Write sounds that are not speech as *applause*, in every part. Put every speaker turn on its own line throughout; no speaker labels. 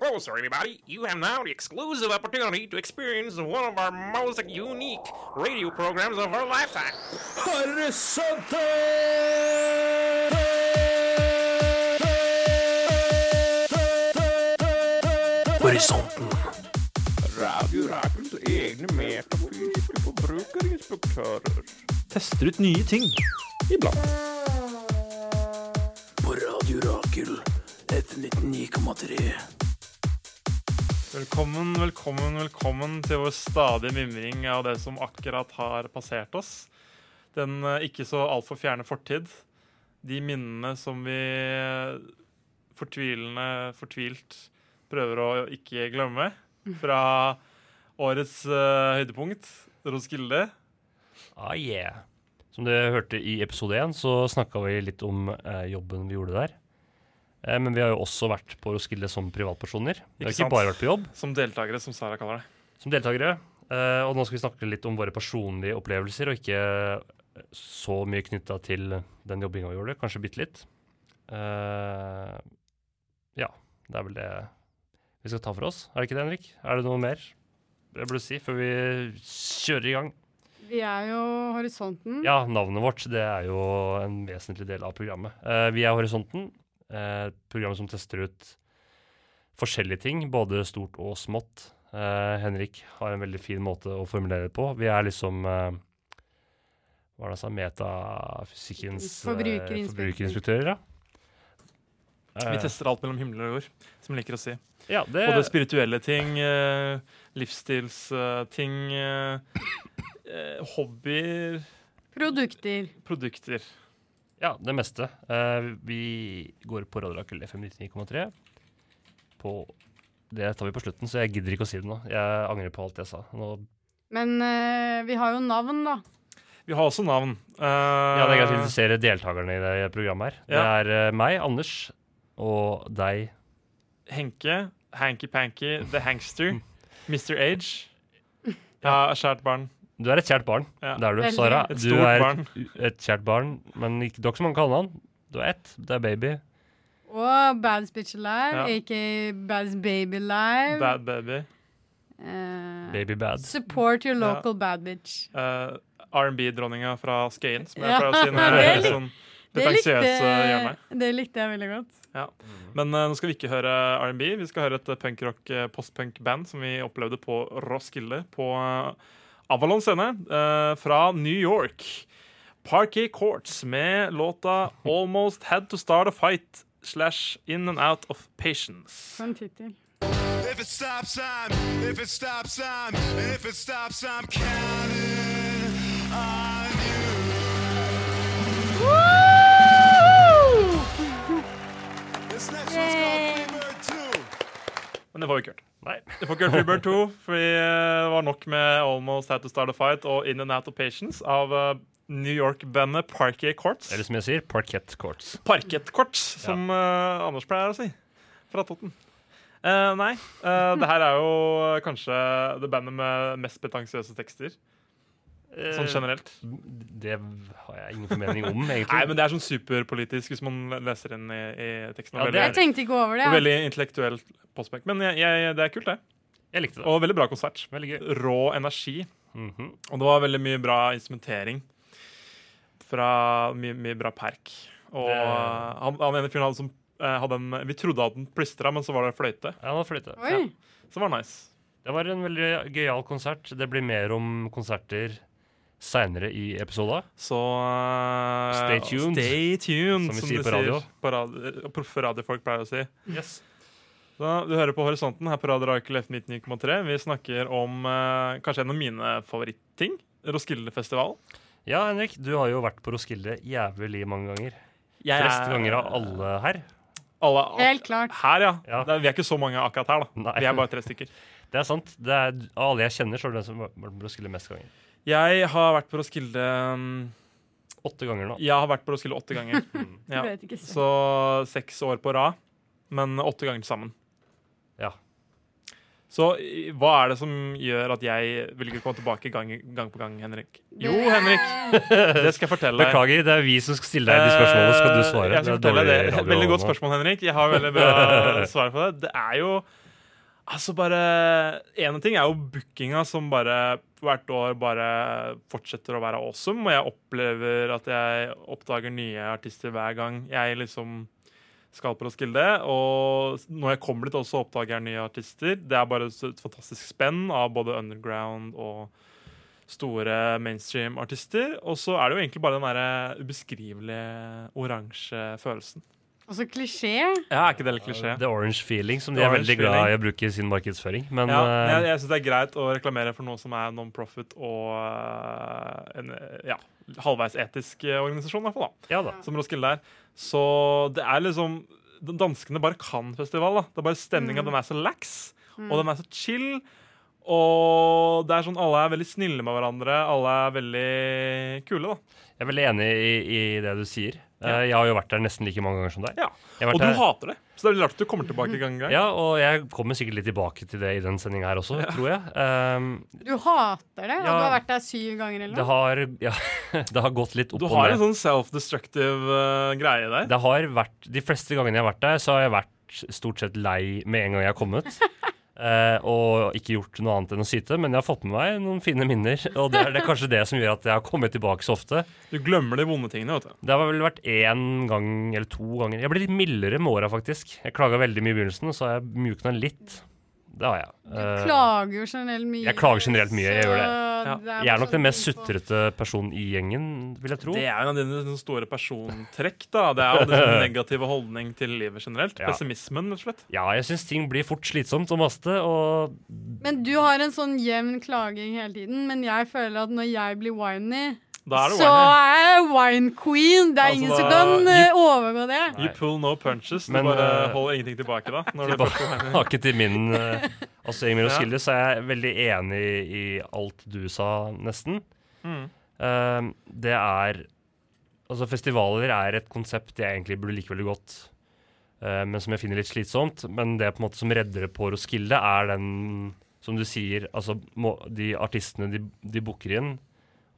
closer, everybody. You have now the exclusive opportunity to experience one of our most unique radio programs of our lifetime.
Horisonte!
Horisonten.
Radio Rakels egne metafysiske forbrukerinspektører.
Tester ut nye ting.
Iblant.
På Radio Rakel. Et 99,3.
Velkommen, velkommen, velkommen til vår stadige mimring av det som akkurat har passert oss. Den eh, ikke så altfor fjerne fortid. De minnene som vi eh, fortvilende, fortvilt prøver å ikke glemme. Fra årets eh, høydepunkt, Roskilde.
Ah, yeah. Som du hørte i episode 1, så snakka vi litt om eh, jobben vi gjorde der. Eh, men vi har jo også vært på Roskilde som privatpersoner. Vi har
Ikke sant?
ikke bare vært på jobb
Som deltakere, som Sara kaller det.
som deltakere. Eh, og nå skal vi snakke litt om våre personlige opplevelser, og ikke eh, så mye knytta til den jobbinga vi gjorde. Kanskje bitte litt. Eh, ja, det er vel det vi skal ta for oss. Er det ikke det, Henrik? Er det noe mer jeg burde si før vi kjører i gang?
Vi er jo horisonten.
Ja, navnet vårt det er jo en vesentlig del av programmet. Eh, vi er Horisonten, eh, et program som tester ut forskjellige ting, både stort og smått. Eh, Henrik har en veldig fin måte å formulere det på. Vi er liksom eh, Hva er det han sa? Metafysikkens eh,
Forbrukerinspektør.
forbrukerinspektører, ja. Eh,
Vi tester alt mellom himmel og jord, som vi liker å si.
ja, det,
Både spirituelle ting, eh, livsstilsting, eh, eh, hobbyer,
Produkter.
produkter.
ja, det meste. Eh, vi går på Radiorakel FM 99,3. På Det tar vi på slutten, så jeg gidder ikke å si det nå. Jeg angrer på alt jeg sa. Nå,
Men eh, vi har jo navn, da.
Vi har også navn. Eh,
ja, det er greit å interessere deltakerne i det programmet her.
Ja.
Det er eh, meg, Anders, og deg,
Eh, Henke, Hanky Panky, The
*laughs*
Hangster, Mr. Age. Ja, kjært barn.
Du er et kjært barn.
Ja.
Det er du,
Veldig.
Sara.
Et
Du
stort
er
barn.
et kjært barn, men ikke, det er ikke så mange kaller han. Du er ett. Det er baby.
Og Baddest Bitch Alive,
Ja.
aka Baddest Baby Alive.
Bad baby.
Eh,
Baby bad.
Support your local bad bitch.
Eh, R&B-dronninga fra Skøyen, som jeg
Ja,
pleier å si. Når
det
jeg er
lik-
litt sånn pretensiøse hjørne.
det likte jeg veldig godt.
Men eh, nå skal vi ikke høre R&B. Vi skal høre et eh, punkrock, eh, postpunk-band som vi opplevde på Roskilde, på eh, Avalon scene, eh, fra New York. Parky Courts med låta 'Almost Had To Start A Fight' slash 'In And Out Of Patience'.
For en tittel.
If it stops, I'm. If it stops, I'm. And if it stops, I'm counting on you. This next one's called Free Bird 2.
Men det får vi ikke hørt.
Nei.
Det får ikke hørt Freebird 2, fordi eh, det var nok med Almost Had To Start A Fight og In And Out Of Patience av eh, New York-bandet Parquet Courts.
Eller som jeg sier, parkett courts.
Parket Courts, som eh, Anders pleier å si. Fra Totten. Eh, nei, eh, det her er jo eh, kanskje det bandet med mest betansiøse tekster, sånn generelt.
Eh, Det har jeg ingen formening om, egentlig.
Nei, men det er sånn superpolitisk hvis man leser inn i, i teksten.
Ja,
og
det
Jeg
er-
veldig,
tenkte ikke over det.
og
jeg.
veldig intellektuelt postback. Men jeg, jeg, det er kult, det.
Jeg likte det.
Og veldig bra konsert.
Veldig gøy.
Rå energi.
Mhm.
Og det var veldig mye bra instrumentering. Fra mye, mye bra perk. Og
Det-
han, han ene fyren hadde, som, eh, hadde en Vi trodde at den plystra, men så var det fløyte.
Ja, det var fløyte.
Oi.
Ja.
Så var det nice.
Det var en veldig gøyal konsert. Det blir mer om konserter seinere i episoden.
Så eh,
Stay tuned.
Stay tuned,
Som vi
som,
sier
de
på radio.
sier på radio. Proffe radiofolk pleier å si.
Yes.
Så du hører på Horisonten her på Radio Rakel F99,3. Vi snakker om eh, kanskje en av mine favoritting. Roskildefestivalen.
Ja, Henrik, du har jo vært på Roskilde jævlig mange ganger.
Jeg er-
Flest ganger av alle her.
alle.
Helt klart.
Her, ja.
Ja.
Det er, vi er ikke så mange akkurat her, da.
Nei.
Vi er bare tre stykker.
Det er sant. Det er, av alle jeg kjenner, så er det den som har vært på Roskilde mest ganger.
Jeg har vært på Roskilde mm,
Åtte ganger nå.
Jeg har vært på Roskilde åtte
*laughs*
ganger. Ja.
Du vet ikke så.
Så seks år på rad, men åtte ganger til sammen.
Ja.
Så i- hva er det som gjør at jeg velger å komme tilbake gang, gang på gang, Henrik? Jo,
Det-
Henrik, *laughs* det skal jeg fortelle deg.
Beklager, det er vi som skal stille deg de spørsmålene, så skal du svare.
Eh, Jeg skal
Det er
fortelle deg
dårlig
det.
radio
Veldig godt
nå. *laughs*
spørsmål, Henrik. Jeg har veldig bra svar på det. Det er jo Altså bare En ting er jo bookinga som bare hvert år bare fortsetter å være awesome, og jeg opplever at jeg oppdager nye artister hver gang jeg liksom skal på Roskilde. Og når jeg kommer dit, også oppdager jeg nye artister. Det er bare så- et fantastisk spenn av både underground og store mainstream-artister. Og så er det jo egentlig bare den derre ubeskrivelige oransje følelsen.
Og så klisjé.
Ja, er ikke det litt klisjé?
The Orange Feeling, som
The
de er
Orange
veldig glad i
Feeling.
å bruke i sin markedsføring. Men
Ja,
eh,
jeg, jeg syns det er greit å reklamere for noe som er non-profit og eh, en eh, ja, halvveis etisk eh, organisasjon, i hvert fall, da,
ja da.
som Roskilde er. Så det er liksom den Danskene bare kan festival. da. Det er bare stemninga. Den er så lax, og den er så chill. Og det er sånn alle er veldig snille med hverandre. Alle er veldig kule, da.
Jeg er veldig enig i, i det du sier. Eh, jeg har jo vært der nesten like mange ganger som deg.
Ja.
Jeg har vært
Og du
her-
hater det, så det er veldig rart at du kommer tilbake gang på gang.
Ja, og jeg kommer sikkert litt tilbake til det i den sendinga her også, tror jeg. Ehm,
Du hater det, og
Ja.
du har vært der syv ganger eller
det,
noe.
har, ja, *laughs* det har gått litt opp
Du
og
har
ned.
en sånn self-destructive eh, greie der.
Det har vært, De fleste gangene jeg har vært der, så har jeg vært stort sett lei med en gang jeg har kommet.
*laughs*
eh, og ikke gjort noe annet enn å syte, men jeg har fått med meg noen fine minner. Og det er, det er kanskje det som gjør at jeg har kommet tilbake så ofte.
Du glemmer de vonde tingene. vet du.
Det har vel vært én gang eller to ganger. Jeg ble litt mildere med åra, faktisk. Jeg klaga veldig mye i begynnelsen, og så har jeg mjukna litt. Det har jeg.
Du
Eh,
klager jo generelt mye.
jeg klager generelt mye, jeg
så
gjør
Ja.
er
jeg er nok
sånn
den mest
ting på-
sutrete personen i gjengen, vil jeg tro.
Det er jo en av dine sånne store persontrekk. da Det er jo den negative holdning til livet generelt.
Ja.
Pessimismen, rett og slett.
Ja, jeg syns ting blir fort slitsomt å maste, og
Men du har en sånn jevn klaging hele tiden, men jeg føler at når jeg blir whiny,
Da er det
så
whiny.
er jeg wine queen. Det er
Altså,
ingen
da-
som kan eh, overgå det.
You pull no punches. Du
Men,
bare
eh,
holder ingenting tilbake da. Når du først er whiny.
tilbake til min eh, assosiering med
Ja.
Roskilde, så er jeg veldig enig i alt du sa, nesten.
Mm.
Eh, det er Altså, festivaler er et konsept jeg egentlig burde like veldig godt, eh, men som jeg finner litt slitsomt. Men det på en måte som redder det på Roskilde, er den, som du sier, altså må, de artistene de, de booker inn,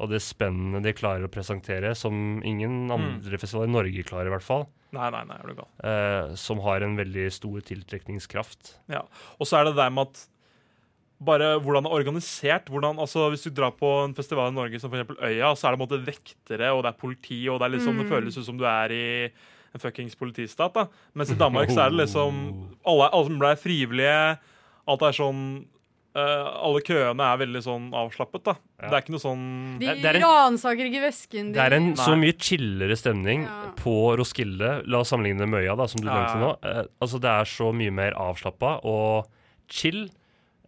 og det spennende de klarer å presentere, som ingen andre festivaler i Norge klarer, i hvert fall.
Nei, nei, nei, er du gal.
eh, som har en veldig stor tiltrekningskraft.
Ja. Og så er det det med at bare hvordan det er organisert. hvordan, altså Hvis du drar på en festival i Norge som for eksempel Øya, så er det på en måte vektere og det er politi, og det er liksom, det føles ut som du er i en fuckings politistat. da. Mens i Danmark så er det liksom Alle, alle som ble frivillige. Alt er sånn eh, Alle køene er veldig sånn avslappet. da. Det er ikke noe sånn
De
Det- det er en-
ransaker ikke vesken din.
Det er en så
Nei.
mye chillere stemning
Ja.
på Roskilde. La oss sammenligne det med Øya, da, som du
Ja,
nevnte nå.
ja,
Eh, altså, det er så mye mer avslappa og chill,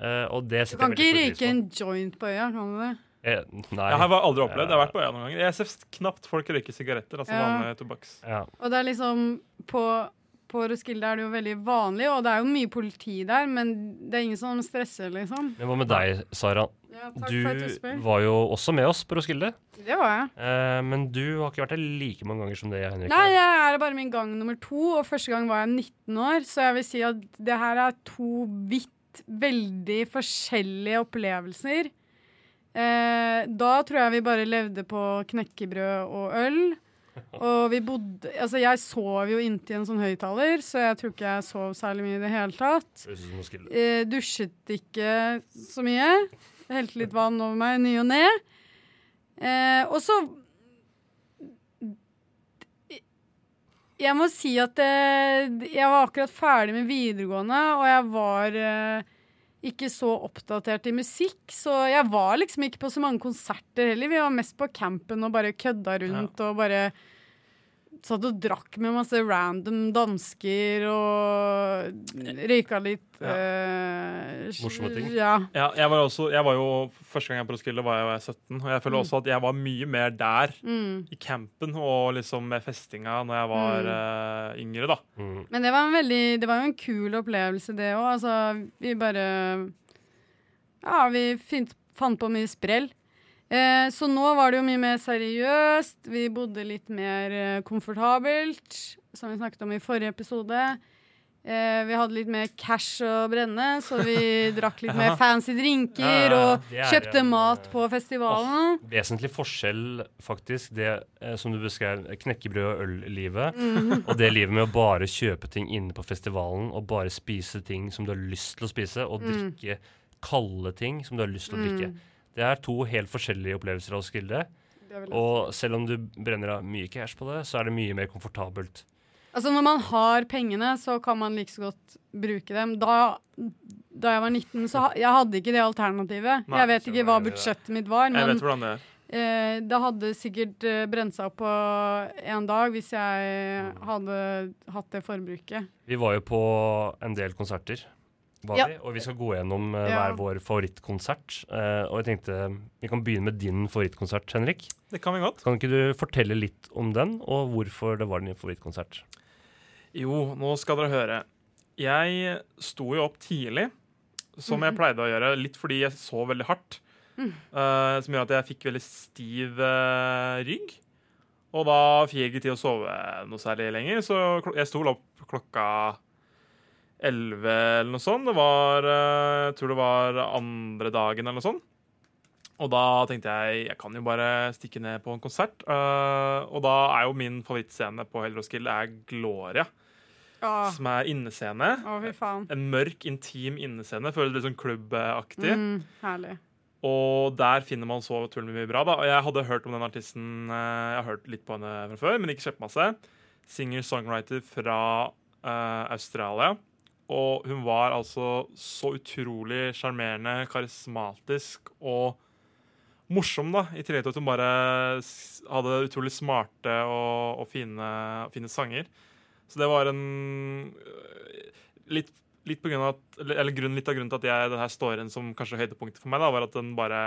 eh, og det
du
setter
kan
jeg
ikke
veldig stor
røyke en
pris på.
joint på øya, kan du det?
Eh, nei.
Jeg har bare aldri opplevd det. Jeg har vært på Øya noen ganger. Jeg ser knapt folk røyke sigaretter. altså
Ja.
vanlig tobakks.
Ja.
Og det er liksom på, på Roskilde er det jo veldig vanlig, og det er jo mye politi der, men det er ingen som stresser, liksom.
Men hva med deg, Sara?
Ja, takk for at du
Du
spør.
var jo også med oss på Roskilde,
Det var jeg.
eh, men du har ikke vært der like mange ganger som det, Henrik.
Nei, jeg er bare min gang nummer to, og første gang var jeg 19 år, så jeg vil si at det her er to vidt veldig forskjellige opplevelser. Eh, da tror jeg vi bare levde på knekkebrød og øl. Og vi bodde Altså, jeg sov jo inntil en sånn høyttaler, så jeg tror ikke jeg sov særlig mye i det hele tatt.
Høres ut som Roskilde.
Eh, dusjet ikke så mye. Helte litt vann over meg i ny og ne. Eh, og så Jeg må si at det, jeg var akkurat ferdig med videregående, og jeg var eh, ikke så oppdatert i musikk, så jeg var liksom ikke på så mange konserter heller. Vi var mest på campen og bare kødda rundt og bare satt og drakk med masse random dansker og røyka litt
Ja.
eh,
Eh, Morsomme ting.
Ja.
Ja, jeg var, også, jeg var jo, Første gang jeg var på Roskilde, var jeg, var jeg 17. Og jeg føler også at jeg var mye mer der,
Mm.
i campen og liksom med festinga, når jeg var eh, yngre. da.
Mm.
Men det var, en veldig, det var jo en kul opplevelse, det òg. Altså, vi bare Ja, vi fint, fant på mye sprell. Eh, så nå var det jo mye mer seriøst. Vi bodde litt mer eh, komfortabelt, som vi snakket om i forrige episode. Eh, vi hadde litt mer cash å brenne,
*laughs*
så vi drakk litt mer
Ja.
fancy drinker
Ja, ja, ja.
og
Det er
kjøpte
en,
mat
eh,
på festivalen.
Vesentlig forskjell, faktisk, det eh, som du beskrev, knekkebrød og øl-livet,
Mhm.
og det livet med å bare kjøpe ting inne på festivalen, og bare spise ting som du har lyst til å spise,
Mm.
og drikke kalde ting som du har lyst til å drikke. Det er to helt forskjellige opplevelser av Skilde,
Det er vel-
og selv om du brenner av mye cash på det, så er det mye mer komfortabelt.
Altså Når man har pengene, så kan man like så godt bruke dem. Da, da jeg var 19, så ha, jeg hadde ikke det alternativet.
Nei,
jeg vet ikke hva budsjettet mitt var,
Jeg
men
vet hvordan det er.
eh, det hadde sikkert eh, brent seg opp på en dag hvis jeg hadde hatt det forbruket.
Vi var jo på en del konserter, var
Ja.
vi, og vi skal gå gjennom eh,
Ja.
hver vår favorittkonsert. Eh, og jeg tenkte vi kan begynne med din favorittkonsert, Henrik.
Det kan vi godt.
Kan ikke du fortelle litt om den, og hvorfor det var din favorittkonsert?
Jo, nå skal dere høre. Jeg sto jo opp tidlig, som jeg pleide å gjøre, litt fordi jeg sov veldig hardt. eh, som gjør at jeg fikk veldig stiv eh, rygg. Og da fikk jeg ikke tid å sove noe særlig lenger, så kl jeg sto vel opp klokka 11 eller noe sånt. Det var eh, Jeg tror det var andre dagen eller noe sånt. Og da tenkte jeg jeg kan jo bare stikke ned på en konsert. eh, og da er jo min favorittscene på Hell Roskilde er Gloria,
Ja,
som er innescene.
Å, fy faen.
En mørk, intim innescene. Føles litt sånn klubbaktig.
Mm, herlig.
Og der finner man så utrolig mye bra. da Og jeg hadde hørt om den artisten eh, Jeg har hørt litt på henne fra før, men ikke kjempemasse. Singer-songwriter fra eh, Australia. Og hun var altså så utrolig sjarmerende, karismatisk og morsom, da. I tillegg til at hun bare s- hadde utrolig smarte og, og fine, fine sanger. Så det var en øh, Litt litt på grunn av at, eller, eller grunn, litt av grunnen til at jeg, den her står igjen som kanskje høydepunktet for meg, da, var at den bare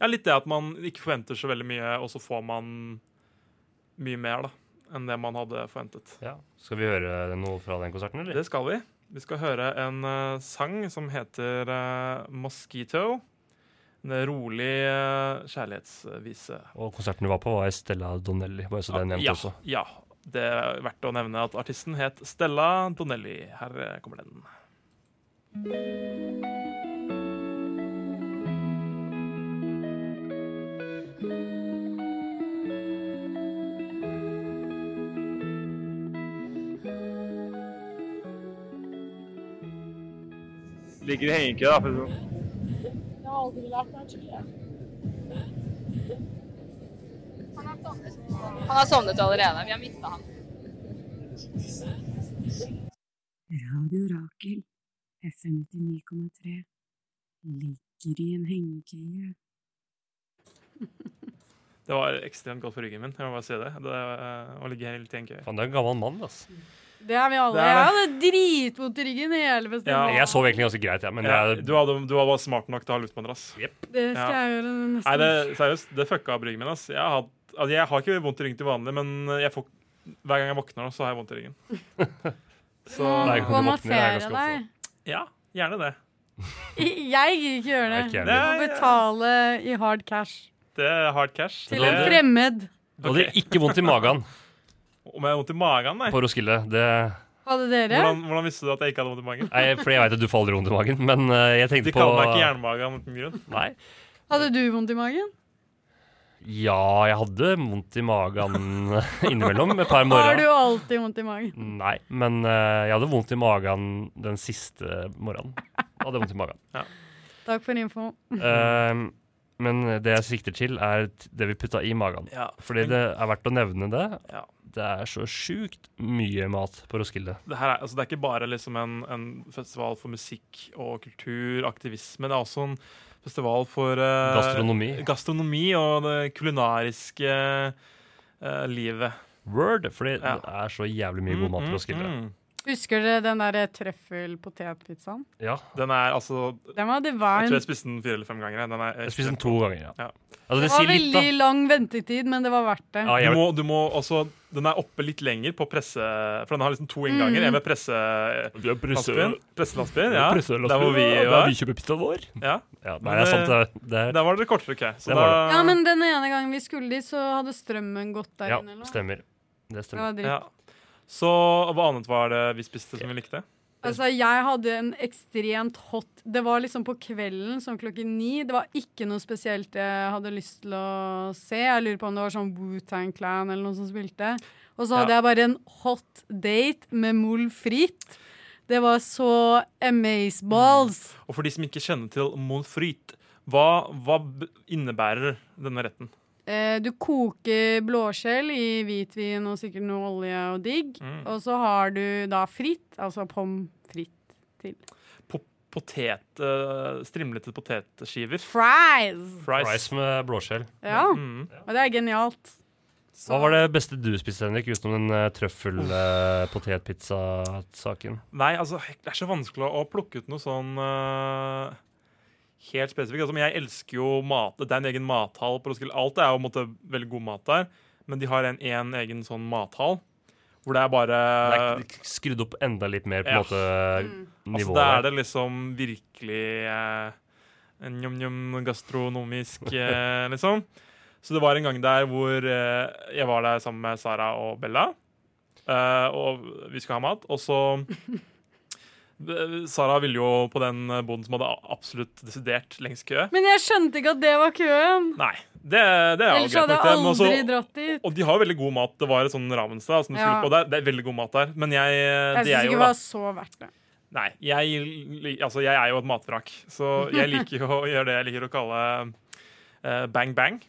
Ja, litt det at man ikke forventer så veldig mye, og så får man mye mer da, enn det man hadde forventet.
Ja. Skal vi høre noe fra den konserten, eller?
Det skal vi. Vi skal høre en eh, sang som heter eh, 'Mosquito'. En rolig eh, kjærlighetsvise.
Og konserten du var på, var Stella Donnelly. Bare så det er nevnt
ja,
også.
ja. Det er verdt å nevne at artisten het Stella Donnelly. Her eh, kommer den.
Ligger i hengekø, da. for å si det sånn.
Han har sovnet, han har sovnet allerede. Vi har mista han.
Radio Rakel, FM 99,3, ligger i en hengekøye.
Det var ekstremt godt for ryggen min. Jeg må bare si det. Det eh, Å ligge helt i en kø.
Faen, det er en gammel mann, altså.
Det er vi alle.
Det er det.
Jeg hadde dritvondt i ryggen hele
Ja.
festivalen.
Jeg sov egentlig ganske greit, ja, men
Ja,
jeg,
du, hadde, du var bare smart nok til å ha luftmadrass.
Det skal
Ja.
jeg gjøre neste
Nei, det, seriøst, det fucka opp ryggen min. Ass. Jeg, har, hatt- altså, jeg har ikke vondt i ryggen til vanlig, men jeg får, hver gang jeg våkner, nå, så har jeg vondt i ryggen.
*laughs*
Så
Nei, jeg kan ikke
Gå og
våkne, det er
massere
ganske
deg.
ja, gjerne det.
*laughs* Jeg gidder ikke gjøre
Nei,
det.
ikke jeg
Nei,
heller.
Å betale i hard cash
Det er hard cash.
til
Det-
en fremmed.
Du hadde ikke vondt i magen
Om jeg har vondt i magen, nei.
på Roskilde. Det
Hadde dere?
Hvordan, hvordan visste du at jeg ikke hadde vondt i magen?
Nei, fordi jeg veit at du faller vondt i magen, men eh, jeg tenkte
De
på
kaller meg ikke jernmage av noen grunn.
Nei.
Hadde du vondt i magen?
Ja, jeg hadde vondt i magen *laughs* innimellom et par
Har du
morgener.
alltid vondt i magen?
Nei, men eh, jeg hadde vondt i magen den siste morgenen. Jeg hadde vondt i magen.
Takk for info.
Eh, men det jeg sikter til, er t- det vi putta i magen.
Ja.
Fordi
Men-
det er verdt å nevne det.
Ja.
Det er så sjukt mye mat på Roskilde.
det, her er, altså, det er ikke bare liksom en, en festival for musikk og kultur, aktivisme. Det er også en festival for eh,
Gastronomi.
gastronomi og det kulinariske eh, livet.
Word! Fordi
Ja.
det er så jævlig mye god mat på Roskilde.
Mm, mm.
Husker dere den der eh, trøffelpotetpizzaen?
Ja.
Den er altså
Den var
Jeg tror
divine.
jeg spiste den fire eller fem ganger. jeg. Den er,
Jeg spiste den to ganger. Ja.
Ja.
Altså,
Det
det
var
sier litt, da.
veldig lang ventetid, men det var verdt det.
Ja,
du
jeg,
må, du må også, den er oppe litt lenger på presse... For den har liksom to innganger.
Mm.
En ved presse... Presse, presselastbil, ja. Der hvor vi var.
kjøper pizzaen vår.
Ja.
Ja, nei, det er sant. Det, det, er-
Der var det kortere kø. Så
Det var
da-
Ja, men den ene gangen vi skulle dit, så hadde strømmen gått der
ja,
inne. eller noe.
stemmer. Det
Det
stemmer.
var dritt.
ja. Så hva annet var det vi spiste som vi likte?
Altså, jeg hadde en ekstremt hot Det var liksom på kvelden, sånn klokken ni. Det var ikke noe spesielt jeg hadde lyst til å se. Jeg lurer på om det var sånn Wu-Tang Clan eller noen som spilte. Og så hadde
Ja.
jeg bare en hot date med Mol Fritt. Det var så amaze balls.
Og for de som ikke kjenner til moules frites, hva, hva b- innebærer denne retten?
Eh, du koker blåskjell i hvitvin og sikkert noe olje og digg.
Mm.
Og så har du da fritt, altså pommes frites til.
Potet, eh, strimlete potetskiver.
Fries!
Fries.
Fries med blåskjell.
Ja,
Mm.
og det er genialt.
Hva var det beste du spiste, Henrik, utenom den uh, trøffel-potetpizza-saken?
Nei, altså, det er så vanskelig å plukke ut noe sånn eh, helt spesifikt. Altså, men jeg elsker jo mat. Det er en egen mathall på Roskilde. Alt er jo på en måte veldig god mat der, men de har en, en egen sånn mathall hvor det er bare
Skrudd opp enda litt mer på en
Eh, Ja.
måte
Mm.
Altså,
nivået.
da er det liksom virkelig eh, en njom-njom gastronomisk, eh, liksom. Så det var en gang der hvor eh, jeg var der sammen med Sara og Bella, eh, og vi skal ha mat, og så *laughs* Sara ville jo på den boden som hadde a- absolutt desidert lengst kø.
Men jeg skjønte ikke at det var køen.
Nei, det, det er jo
Ellers
greit
hadde
nok,
jeg
det. men
aldri
også-
dratt dit.
og de har jo veldig god mat. Det var et sånn Ravenstad som du
Ja.
skulle på der. Det er veldig god mat der. Men jeg,
Jeg
det
syns
jeg
ikke det
gjorde, da-
var så verdt det.
Nei, jeg, li- altså jeg er jo et matvrak, så jeg liker jo å *laughs* gjøre det jeg liker å kalle eh, bang bang.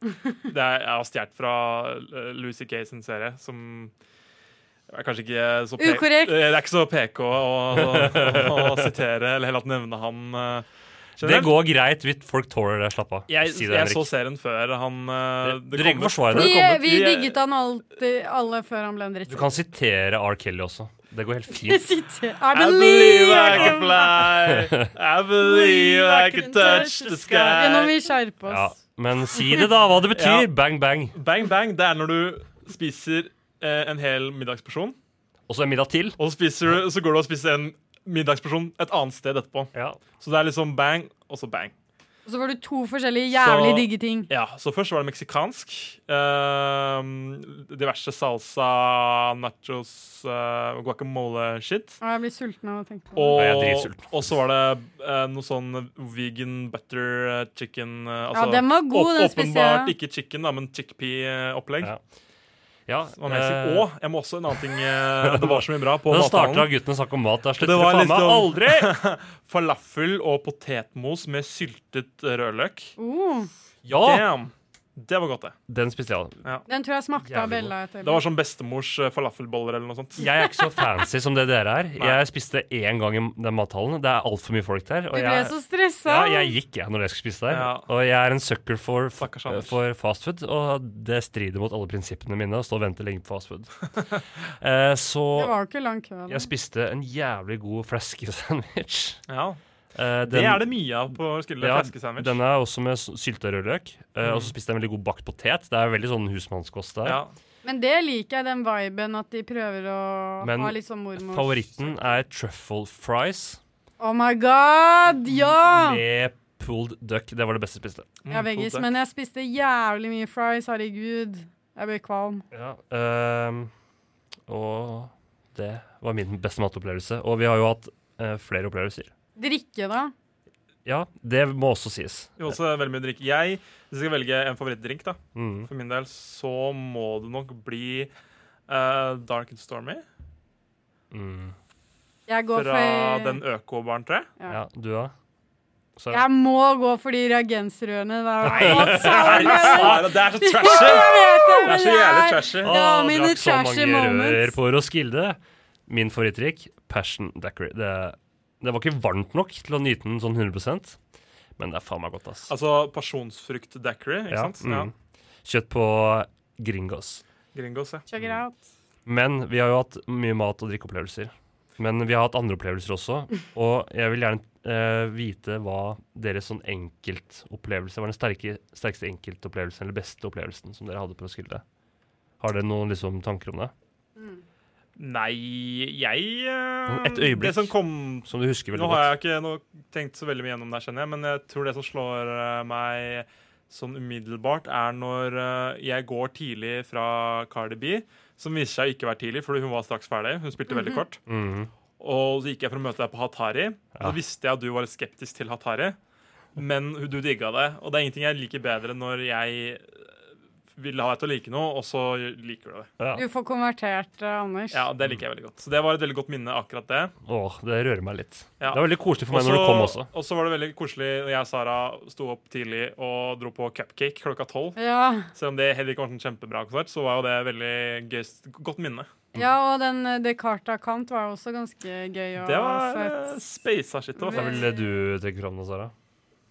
Det er, jeg har stjålet fra eh, Louis C.K. sin serie, som er kanskje ikke så pe-
Ukorrekt.
Eh, Det er ikke så PK å, å, å, å sitere eller heller at nevne han. eh,
Det
generelt.
går greit hvis folk tåler det. Slapp av.
Jeg,
si det,
jeg så
Henrik.
serien før han eh,
Det-
det
du trenger
kom
ikke
ut-
forsvare
før
Vi,
det.
kom ut.
vi
Vi-
digget han alltid, alle før han ble en
Du
drittsekk.
kan
*laughs*
sitere R. Kelly også. Det går helt
Jeg *laughs*
fint.
sitter- I
I believe I
can
can fly. I believe I can touch the
Ja,
sky.
Nå må vi skjerpe
Ja,
oss.
men si det, da, hva det
*laughs*
betyr.
Ja.
Bang, bang.
Bang bang, det er når du spiser eh, en hel middagsporsjon,
Og så en middag til.
og så, spiser du, så går du og spiser en middagsporsjon et annet sted etterpå.
Ja.
Så det er liksom bang, og så bang.
Og så var det to forskjellige jævlig
Så-
digge ting.
Ja, Så først var det meksikansk. eh, diverse salsa, nachos, eh, guacamole-shit.
Å, jeg blir sulten av å tenke på det.
Og,
Nei, jeg er dritsulten.
og så var det eh, noe sånn vegan butter eh, chicken eh, altså,
Ja, den var god, den spiste jeg.
Åpenbart ikke chicken, da, men chickpea-opplegg.
Ja. Eh. Ja,
Og jeg må også en annen ting
*laughs*
eh, Det var så mye bra på
Da starta
mathallen.
guttene å snakke om mat. Da
Det var
slutter de faen meg
liksom-
aldri!
*laughs* Falafel og potetmos med syltet rødløk.
Oh,
Ja,
Damn! Det var godt, det.
den spiste jeg.
den tror jeg smakte av
Jævlig
Bella. etter.
Det var sånn bestemors eh, falafelboller eller noe sånt.
Jeg er ikke så fancy som det dere er.
Nei.
Jeg spiste én gang i den mathallen. Det er altfor mye folk der.
Du
Og
ble
jeg,
så stressa.
ja, jeg gikk jeg når jeg skulle spise der.
Ja.
Og jeg er en sucker for, eh,
Stakkars Anders.
for fast food, og det strider mot alle prinsippene mine å stå og vente lenge på
*laughs*
fast food. Eh, så
Det var jo ikke lang kø. da.
jeg spiste en jævlig god fleskesandwich.
*laughs* Ja,
Eh,
Det
den-
er det mye av på Roskilde.
ja,
Fleskesandwich.
den er også med s- sylta rødløk. eh, Og så spiste jeg en veldig god bakt potet. Det er veldig sånn husmannskost der.
Mm. Ja.
Men det liker jeg, den viben at de prøver å
Men
ha litt sånn mormors
Favoritten er truffle fries
Oh my god, ja!
Mm,
med pulled duck. Det var det beste jeg spiste.
Jeg er
god
veggis,
takk.
men jeg spiste jævlig mye fries, herregud. Jeg ble kvalm.
Ja, ehm, og det var min beste matopplevelse. Og vi har jo hatt eh, flere opplevelser.
Drikke, da?
Ja, det må også sies.
Det var Også veldig mye drikk. Jeg, hvis jeg skal velge en favorittdrink, da,
Mm.
for min del, så må det nok bli eh, Dark and Stormy
Mm.
Jeg går
fra
for
den økobaren, tror jeg.
Ja.
Ja, du da? Så,
Jeg må gå for de reagensrørene. Det er jo alt
Nei,
sammen.
Sara, Ah, det er så trashy!
*laughs* Jeg vet det,
Det
men
er så
det
jævlig
er
trashy.
det var
Åh,
mine
drakk så
trashy
mange
moments.
rør på Roskilde. Min favorittdrikk, passion daiquiri. Det, det var ikke varmt nok til å nyte den sånn 100 men det er faen meg godt, ass.
Altså pasjonsfrukt daiquiri, ikke sant?
Ja, mm. Kjøtt på gringos.
Ja, Gringos, ja.
Check it out.
Men vi har jo hatt mye mat- og drikkeopplevelser. Men vi har hatt andre opplevelser
*laughs*
også. Og jeg vil gjerne eh, vite hva deres sånn enkeltopplevelse var den sterke, sterkeste enkeltopplevelsen eller beste opplevelsen som dere hadde på Roskilde. Har dere noen liksom, tanker om det?
Nei, jeg eh,
Et øyeblikk.
Det som kom
Som du husker
Nå
veldig
har
godt?
jeg ikke noe tenkt så veldig mye gjennom det, skjønner jeg, men jeg tror det som slår eh, meg sånn umiddelbart, er når eh, jeg går tidlig fra Cardi B, som viser seg å ikke være tidlig, fordi hun var straks ferdig. Hun spilte veldig
Mhm.
kort.
Mhm.
Og så gikk jeg for å møte deg på Hatari.
Ja.
Så visste jeg at du var litt skeptisk til Hatari, men du digga det. Og det er ingenting jeg liker bedre enn når jeg eh, vil ha deg til å like noe, og så liker du det.
Du får konvertert, eh, Anders.
Ja, det liker jeg veldig godt. Så det var et veldig godt minne, akkurat det.
Åh, det rører meg litt.
Ja.
Det var veldig koselig for meg
Og
når
så-
du kom også.
Og så var det veldig koselig når jeg og Sara sto opp tidlig og dro på cupcake klokka tolv.
Ja.
Selv om det heller ikke var en kjempebra konsert, så var jo det veldig gøy, godt minne.
Ja, og den eh, Descartes Kant var jo også ganske gøy og
Det var
søt.
eh, speisa shit.
Hva vil det du trekke fram nå, Sara?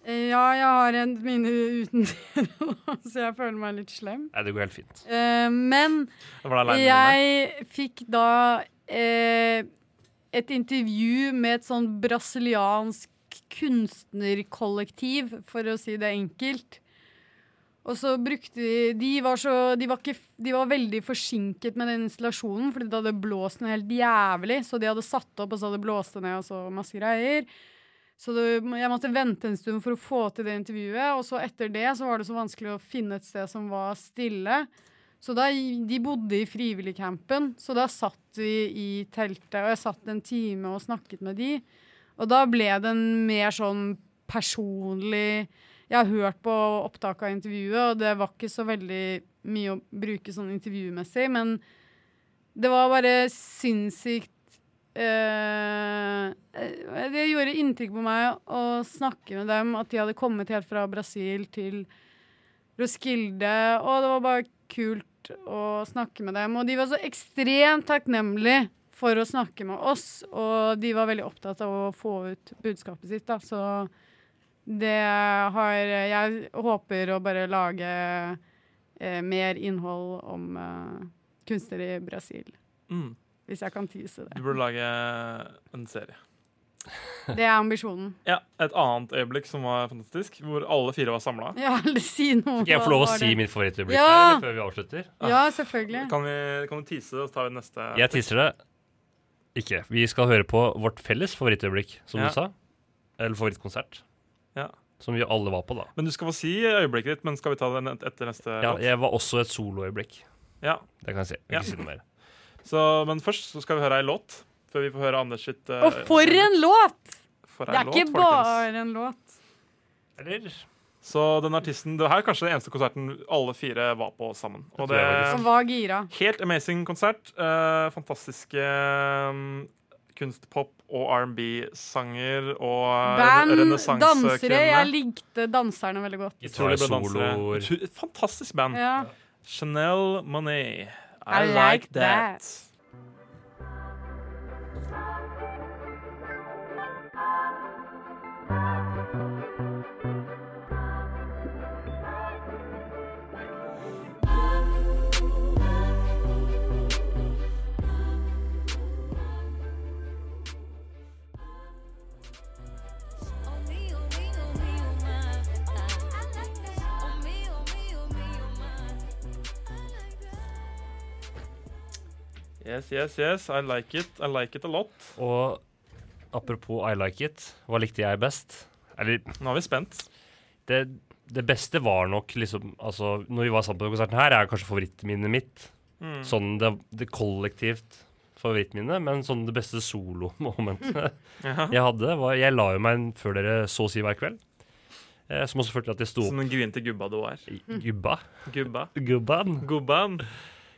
eh,
Ja, jeg har en mine uten *laughs* dere, så jeg føler meg litt slem.
Nei, det går helt fint.
Eh, men
Jeg var alene
jeg fikk da eh, et intervju med et sånn brasiliansk kunstnerkollektiv, for å si det enkelt. Og så brukte de De var, så, de var, ikke, de var veldig forsinket med den installasjonen, fordi det hadde blåst noe helt jævlig. Så de hadde satt opp, og så hadde det blåst det ned, og så masse greier. Så det, jeg måtte vente en stund for å få til det intervjuet. Og så etter det så var det så vanskelig å finne et sted som var stille. Så da, de bodde i frivilligcampen, så da satt vi i teltet, og jeg satt en time og snakket med de. Og da ble det en mer sånn personlig Jeg har hørt på opptak av intervjuet, og det var ikke så veldig mye å bruke sånn intervjumessig, men det var bare sinnssykt eh, eh, Det gjorde inntrykk på meg å snakke med dem, at de hadde kommet helt fra Brasil til Roskilde, og det var bare kult å snakke med dem. Og de var så ekstremt takknemlige for å snakke med oss, og de var veldig opptatt av å få ut budskapet sitt, da. Så det har Jeg håper å bare lage eh, mer innhold om eh, kunstnere i Brasil.
Mm.
Hvis jeg kan tease
Du
det.
burde lage en serie.
Det er ambisjonen.
Ja, Et annet øyeblikk som var fantastisk, hvor alle fire var samla.
Ja, eller si noe.
Skal jeg få lov å
Hva var
si
det?
min Ah. favorittøyeblikk
Ja!
her, eller før vi avslutter?
Ja, selvfølgelig.
Kan, vi- kan du tease, og så tar vi neste?
Jeg teaser det ikke. Vi skal høre på vårt felles favorittøyeblikk, som
Ja.
du sa. Eller favorittkonsert.
Ja.
Som vi alle var på, da.
Men du skal få si øyeblikket ditt, men skal vi ta den et- etter neste?
Ja,
låt?
jeg var også et soloøyeblikk.
Ja.
Det kan jeg si. Jeg kan
Ja.
ikke si noe mer.
Så, men først så skal vi høre ei låt, før vi får høre Anders sitt eh,
Og for en låt!
for ei
Det er ikke
låt, folkens.
bare en låt.
Så den artisten Det her er kanskje den eneste konserten alle fire var på sammen. Og
tror
det
jeg
Som var gira.
Helt amazing konsert. eh, fantastiske eh, kunstpop og R&B-sanger og eh, re-
Band, dansere. Jeg
renessansekvinne.
likte danserne veldig godt.
Utrolig bra dansere.
Soloer.
Utro- Fantastisk
Mm.
band.
Ja.
Chanel Monet. I,
I
like,
like
that. Yes, yes, yes. I like it. I like it a lot.
Og apropos I like it, hva likte jeg best? Eller
Nå er vi spent.
det, det beste var nok liksom Altså, når vi var sammen på den konserten her, er kanskje favorittminnet mitt.
Mm.
Sånn det, det kollektivt favorittminnet, men sånn det beste solomomentet
Ja.
jeg hadde, var Jeg la jo meg inn før dere så å si hver kveld. Eh, som også førte til at jeg sto
Som den grinete gubba du er.
opp i gubba.
Gubba.
Gubban.
Gubban.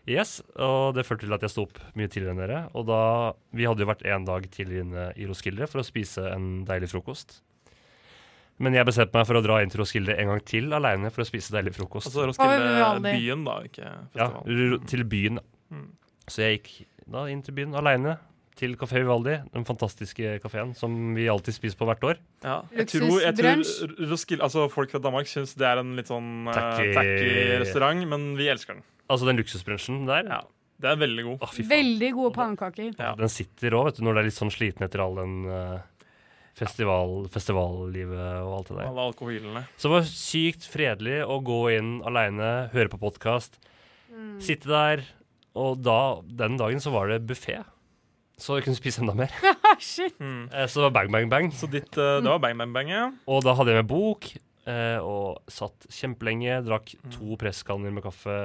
Yes, og det førte til at jeg sto opp mye tidligere enn dere. Og da, vi hadde jo vært en dag tidligere inne i Roskilde for å spise en deilig frokost. Men jeg bestemte meg for å dra inn til Roskilde en gang til aleine for å spise deilig frokost.
Altså
Oi,
Roskilde
veldig.
byen, da, ikke
ja,
festivalen.
ro- til byen, da.
Mm.
Så jeg gikk da inn til byen aleine. Til Kafé Vivaldi, den fantastiske kafeen som vi alltid spiser på hvert år.
Ja. Jeg tror, jeg tror
Luksusbrunsj.
R- Roskilde, altså folk fra Danmark syns det er en litt sånn eh,
Tacky-
tacky restaurant, men vi elsker den.
Altså den luksusbrunsjen der.
Ja. Det er veldig god.
Å, fy faen.
Veldig gode pannekaker. *laughs*
Ja.
Den sitter òg, vet du, når det er litt sånn sliten etter all den eh, festival, festivallivet og alt det der.
Alle alkoholene.
Så det var sykt fredelig å gå inn aleine, høre på podkast, sitte der. Og da, den dagen så var det buffé. Så jeg kunne spise enda mer.
Ah, shit.
Mm.
Eh, Så det var bang, bang, bang.
Så ditt, eh, det var bang, bang, bang, ja.
Og da hadde jeg med bok. eh, eh, og satt kjempelenge, drakk
Mm.
to presskanner med kaffe.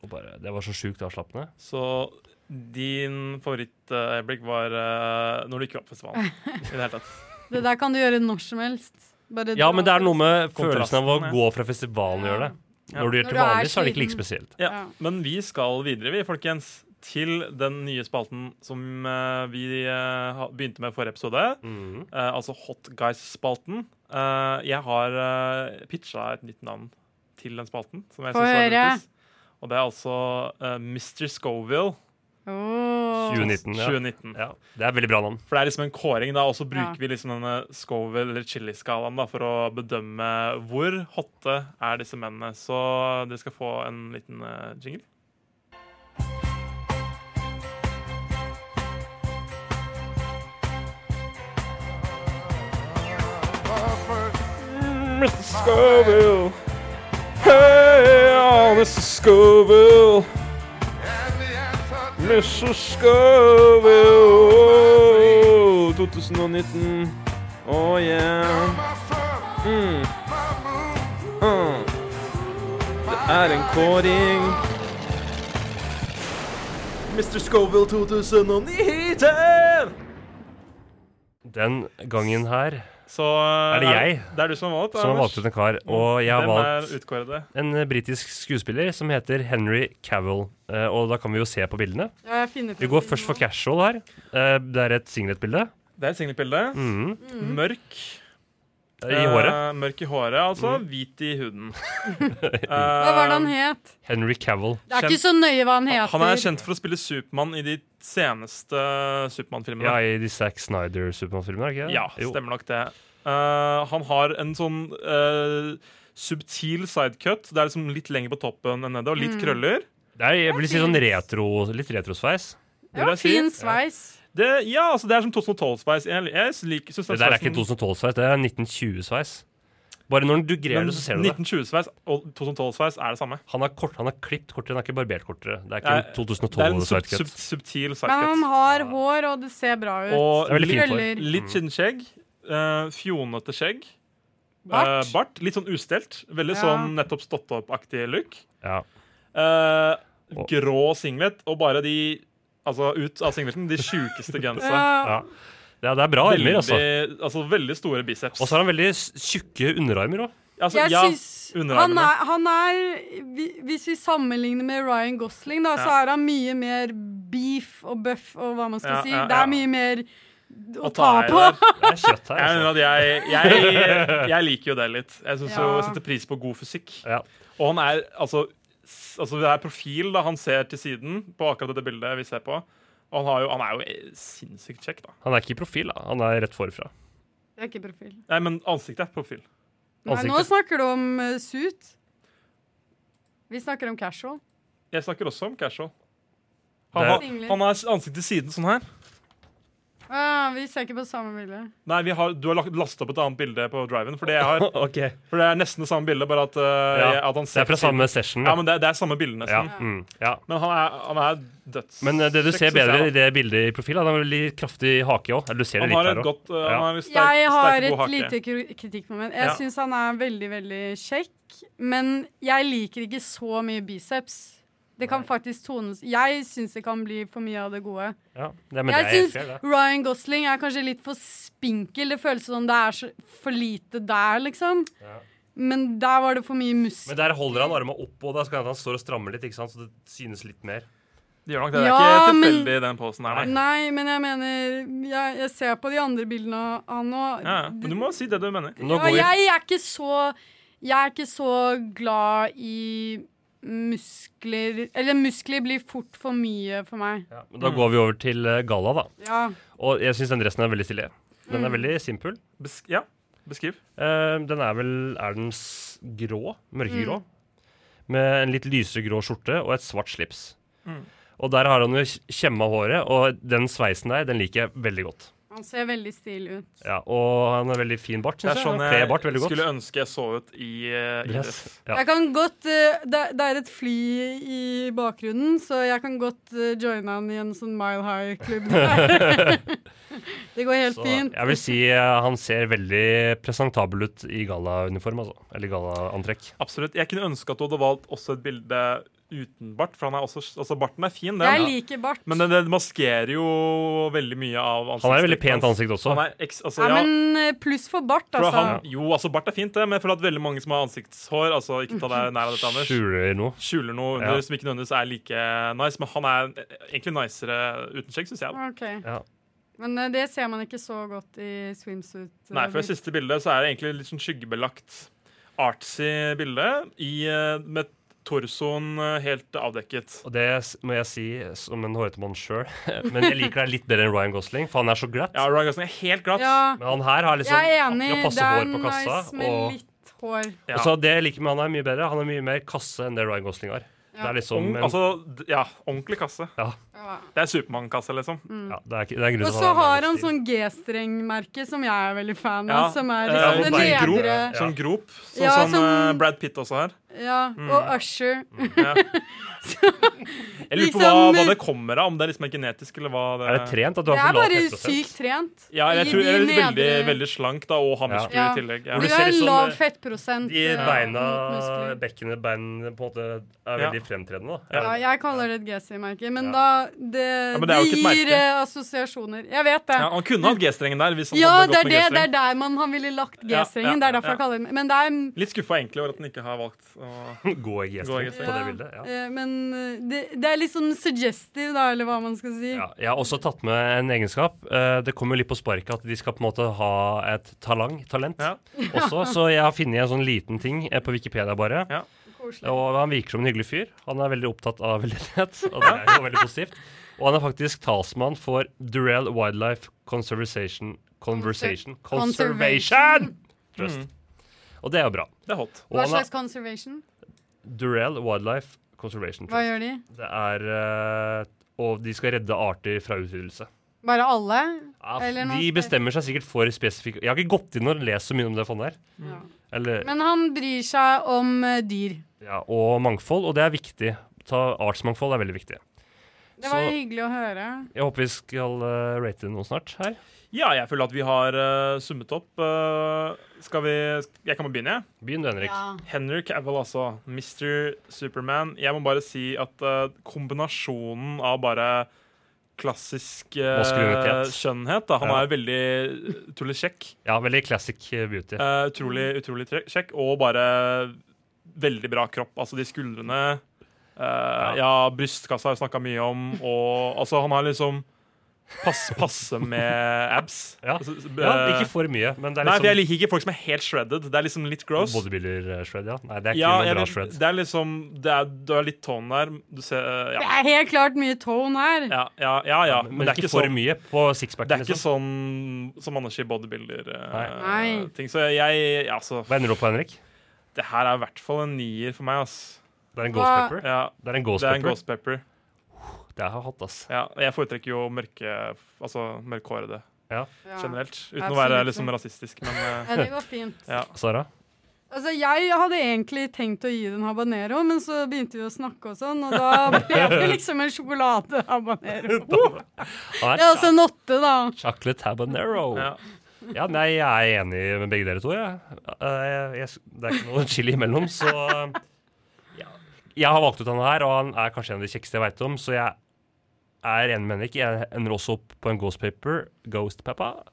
Og bare, det var så sjukt avslappende.
Så din favorittøyeblikk var eh, når du ikke var på festivalen. I det hele tatt.
Det der kan du gjøre når som helst. Bare
Ja,
dra.
men det er noe med
Kontrasten,
følelsen av å
ja.
gå fra festivalen og gjøre det.
Ja.
Når du gjør det
Når du
til
er
vanlig, så er det ikke like
sliten.
spesielt.
Ja.
Ja.
Men vi skal videre, vi, folkens. Til den nye spalten som eh, vi eh, ha- begynte med i forrige episode.
Mhm.
Eh, altså Hot Guys-spalten. Eh, jeg har uh, pitcha et nytt navn til den spalten. Som jeg
Få
synes var
høre.
lurtes. Og det er altså eh, Mr. Scoville
Åh.
2019. Ja.
2019.
ja. Det er veldig bra navn.
For det er liksom en kåring, da, og så
Ja.
bruker vi liksom denne Scoville eller Chili-skalaen da, for å bedømme hvor hotte er disse mennene. Så dere skal få en liten eh, jingle.
Mr. Scoville. Hey, oh, Mr. Scoville. Mr. Scoville. 2019. Oh yeah. Mm. Mm. Det er en kåring. Mr. Scoville 2019!
Den gangen her
Så eh,
Er det jeg?
Det, er du som har valgt.
så har jeg
Anders.
valgt ut en kar, og jeg har
Hvem
valgt
er utkårede?
en eh, britisk skuespiller som heter Henry Cavill. Eh, og da kan vi jo se på bildene.
Ja, jeg finner
Vi
frem
går
til
først for
nå.
casual her. Eh, det er et singletbilde.
Det er et singelbilde.
Mhm.
Mm.
Mørk.
I håret. Mm.
Eh, mørk i håret, altså. Hvit i huden.
*laughs*
Hva var det han het?
Henry Cavill.
Det er
kjent-
ikke så nøye hva han heter.
Han er kjent for å spille Supermann i de seneste Supermann-filmene.
Ja, i de Zack Snyder-Supermann-filmene, er det ikke det?
Ja,
Jo.
stemmer nok det. Eh, han har en sånn eh, subtil sidecut. Det er liksom litt lenger på toppen enn nede, og
Mm.
litt krøller.
Det er, jeg vil si sånn retro, litt retrosveis.
Det,
Ja,
vil jeg si.
fin sveis.
det, ja, altså, det er som 2012-sveis. Jeg, jeg liker synes
Det
den
der er ikke
sveisen-
2012-sveis, det er 1920-sveis. Bare når du
men
grer det, så ser du det.
1920-sveis og 2012-sveis er det samme.
Han har, kort, han har klippt kortere, han har ikke barbert kortere. Det er
Nei, Det
ikke
er en
2012-sveis.
sub, sub, subtil
Men han
sidecut.
har hår, og det ser bra ut.
Og
Det er veldig fint Mm. hår.
Krøller.
litt kinnskjegg. eh, fjonete skjegg.
Bart.
eh, bart. Litt sånn ustelt. Veldig
Ja.
sånn nettopp stått opp-aktig look.
Ja.
Eh,
Og-
grå singlet, og bare de Altså ut av singleten, de sjukeste gensa.
Ja.
Ja, det er bra armer,
Veldig,
altså.
altså, veldig store biceps.
Og så har han veldig s- tjukke
*laughs*
underarmer òg.
altså,
Jeg
ja,
syns han
underarmene.
er, han er vi- Hvis vi sammenligner med Ryan Gosling, da, så er han mye mer beef og buff og hva man skal
Ja,
si.
ja,
Det
ja.
er mye mer å
Og
ta
tar
på.
der.
Det er kjøtt her.
Jeg, mener
Altså.
at jeg, jeg, jeg liker jo det litt. Jeg synes jo,
Ja.
setter pris på god fysikk.
Ja.
Og han er altså, s- altså Det er profil da han ser til siden på akkurat dette bildet vi ser på. Og han, har jo, han er jo eh, sinnssykt kjekk, da.
Han er ikke i profil, da. Han er rett forfra.
Det er ikke profil.
Nei, men ansiktet er profil.
Nei, nå
Ansiktet.
snakker du om eh, suit. Vi snakker om casual.
Jeg snakker også om casual. Han,
Det er-
har- han har ansiktet til siden sånn her.
Ah, vi ser ikke på samme bilde.
Nei, vi har, du har lagt- lastet opp et annet bilde på driven. For det, jeg *laughs* har, for det er nesten det samme bildet, bare at, uh, jeg, at han
Det
ser
er fra samme session.
Ja,
da.
men det, er- det er samme bilde,
Ja.
nesten.
Mm, ja.
Men han er, han er døds...
Men eh, det du
kjekk,
ser
synes jeg,
bedre
da.
i det bildet i profil, er at han har veldig kraftig hake òg. Du ser
Han
det litt
har
her
et
òg.
godt uh,
Ja.
han har en sterk,
Jeg har
sterk, god
et
hake.
lite kru- kritikkmoment. Jeg
Ja.
syns han er veldig, veldig kjekk, men jeg liker ikke så mye biceps. Det kan faktisk tones Jeg syns det kan bli for mye av det gode.
Ja. Det, men det
jeg
er helt
syns
fair, det.
Ryan Gosling er kanskje litt for spinkel. Det føles som det er så for lite der, liksom.
Ja.
Men der var det for mye
Men
muskler.
der holder han armene opp, og da skal han, han står og strammer litt, ikke sant? så det synes litt mer.
Det gjør nok det. Det er
Ja,
ikke
men-
tilfeldig, den posen her, nei.
Nei, men jeg mener Jeg, jeg ser på de andre bildene av han nå.
Ja, ja. men du må si det du mener.
Nå
Ja,
går vi
jeg er ikke så Jeg er ikke så glad i muskler Eller muskler blir fort for mye for meg.
ja, men Da går vi over til eh, galla, da.
Ja.
Og jeg syns den dressen er veldig stilig. Den er veldig simpel.
Besk ja, beskriv.
Eh, den er vel Er den s grå? Mørkegrå? Med en litt lysere grå skjorte og et svart slips.
Mm.
Og der har han jo kj- kjemma håret, og den sveisen der, den liker jeg veldig godt.
Han ser veldig stilig ut.
Ja, og han har veldig fin bart,
Det er
syns jeg.
sånn
Han
jeg
kler bart veldig godt.
skulle ønske jeg så ut i eh, i
Dress.
dress.
Ja.
Jeg kan godt, eh, det, det er et fly i bakgrunnen, så jeg kan godt eh, joine han i en sånn Mile High-klubb. det går helt
Så
fint.
jeg vil si eh, han ser veldig presentabel ut i gallauniform, altså. Eller gallaantrekk.
Absolutt. Jeg kunne ønske at du hadde valgt også et bilde uten bart, for han er også, altså barten er fin, den.
Jeg liker bart.
Men den, den maskerer jo veldig mye av ansiktet.
Han har jo veldig pent ansikt også.
Han er eks, altså,
ja,
ja,
men eh, pluss for bart,
for
altså.
han, jo, altså bart er fint, det, men jeg føler at veldig mange som har ansiktshår altså Ikke ta deg nær av dette, Anders.
Skjuler noe.
Skjuler noe under
Ja.
som ikke nødvendigvis er like nice, men han er egentlig nicere uten skjegg, syns jeg. da.
Ok.
Ja.
Men eh, det ser man ikke så godt i swimsuit. eh,
Nei, for det
bild.
siste bildet så er det egentlig litt sånn skyggebelagt, artsy bilde i, eh, med torsoen eh, helt avdekket.
Og det s- må jeg si som en hårete mann sjøl, *laughs* men jeg liker deg litt bedre enn Ryan Gosling, for han er så glatt.
Ja, Ryan Gosling er helt glatt.
Ja,
Men han her har liksom
jeg er enig.
akkurat passe
Det er
hår på kassa.
nice med
og,
litt hår.
Ja.
og så det jeg liker med han er mye bedre. Han er mye mer kasse enn det Ryan Gosling har. Det
Ja.
er liksom
Ung,
en,
altså, d- ja, ordentlig kasse.
ja,
Ja.
Det er Supermann-kasse, liksom.
ja, det er, ikke- det er grunnen
Og så har han sånn G-strengmerke som jeg er veldig fan av,
Ja,
som er
eh,
liksom
mot
det
deg. Grop.
nedre
Ja.
Sånn grop, sånn
Ja,
som
som-
eh, Brad Pitt også har.
Ja, og Usher.
Ja. Jeg lurer på hva,
Liksom-
hva det kommer av, om det er liksom er genetisk, eller hva det
Er det trent at du
Det
har
er
for lav
bare
fettprosent?
sykt trent.
Ja, jeg
I
tror jeg
de
er veldig,
nedre-
veldig slank da, og har
Ja.
muskler
Ja.
i tillegg.
Du
Ja.
Hvor det
har
ser ut som,
lav
eh,
fettprosent.
De
eh,
beina,
mot muskler.
bekkenet, bein på en måte er
Ja.
veldig fremtredende. da.
Ja, jeg kaller det et G-strengmerke, men
Ja.
da
men
Det,
det
det,
er jo ikke et merke.
gir eh, assosiasjoner. Jeg vet det.
Ja, han kunne hatt G-strengen der.
sånn
hvis han
Ja,
hadde gått med
det er det. Det
G-streng.
er der man, han ville lagt
Ja,
G-strengen.
ja,
Det er derfor
ja.
jeg kaller den Men det er
Litt skuffa egentlig over at han ikke har valgt å
*laughs* Gå i
Gå
G-streng
i
på det
ja,
bildet. Ja.
eh, Men eh, det, det er liksom suggestive, da, eller hva man skal si.
Ja, jeg har også tatt med en egenskap. Eh, Det kommer jo litt på sparket at de skal på en måte ha et talang, talent
Ja.
*laughs* også, så jeg har funnet en sånn liten ting eh, på Wikipedia bare.
Ja.
Koselig.
Og han virker som en hyggelig fyr. Han er veldig opptatt av veldedighet, *laughs* og det er jo veldig positivt. Og han er faktisk talsmann for Durell Wildlife Conservation Conversation Conservation! Trust.
Mm.
Og det er jo bra.
Det er hot.
Og
Hva
han er
slags conservation?
Durell Wildlife Conservation
Hva
Trust.
gjør de?
Det er eh, Og de skal redde arter fra utryddelse.
Bare alle?
Ja,
Eller noe
de
spe-
bestemmer seg sikkert for spesifikke Jeg har ikke gått inn og lest så mye om det fondet her.
Ja.
Eller,
Men han bryr seg om eh, dyr.
ja, og mangfold, og det er viktig. Ta, artsmangfold er veldig viktig.
Det var
Så-
hyggelig å høre.
Jeg håper vi skal eh, rate noe snart her.
Ja, jeg føler at vi har eh, summet opp. eh, skal vi Jeg kan bare begynne, jeg.
Begynn du, Henrik.
Henry Cavill, altså. Mr. Superman. Jeg må bare si at eh, kombinasjonen av bare klassisk eh,
Maskulinitet.
skjønnhet da. Han
Ja.
er veldig utrolig kjekk.
Ja, veldig classic eh, beauty.
eh, utrolig utrolig tre- kjekk. Og bare veldig bra kropp. Altså de skuldrene eh, Ja, brystkassa har jeg snakka mye om. Og altså, han har liksom pass, Passe med abs.
Ja.
Altså,
Ja,
eh,
ikke for mye, men det er
Nei, for jeg
liksom
liker ikke folk som er helt shredded. Det er liksom litt gross.
Bodybuilder-shred, eh, ja. Nei, det er ikke
Ja,
noe
jeg,
bra
vil-
shred.
det er liksom det er, Du har litt tone der. Du ser eh,
Det
ja.
er helt klart mye tone her.
Ja, ja, ja, ja.
Men, det er ikke for
sånn,
mye på
det er
sixpacken,
ikke
liksom.
sånn som Anders sier, bodybuilder-ting.
Nei. Nei.
så jeg Altså,
Hva ender du opp på, Henrik?
det her er i hvert fall en nier for meg, ass.
Det er en ghost
Hva-
pepper.
Ja,
Det er en
det
ghost
er en
pepper.
ghost pepper.
Det er hot, ass.
Ja, og jeg foretrekker jo mørke Altså mørkhårede
Ja.
generelt. Uten å være
Absolutt.
liksom rasistisk, men eh,
*laughs* Ja, det går fint.
ja.
Sara?
Altså, jeg hadde egentlig tenkt å gi den habanero, men så begynte vi å snakke og sånn, og da ble det liksom en sjokoladehabanero.
Han
Det er
er
altså en åtte, da.
chocolate habanero.
ja.
Ja, nei, jeg er enig med begge dere to, jeg. Eh, jeg. Det er ikke noe chili imellom, så eh, ja. Jeg har valgt ut han her, og han er kanskje en av de kjekkeste jeg veit om, så jeg er enig med Henrik. Jeg ender også opp på en Ghost Paper, Ghost Peppa.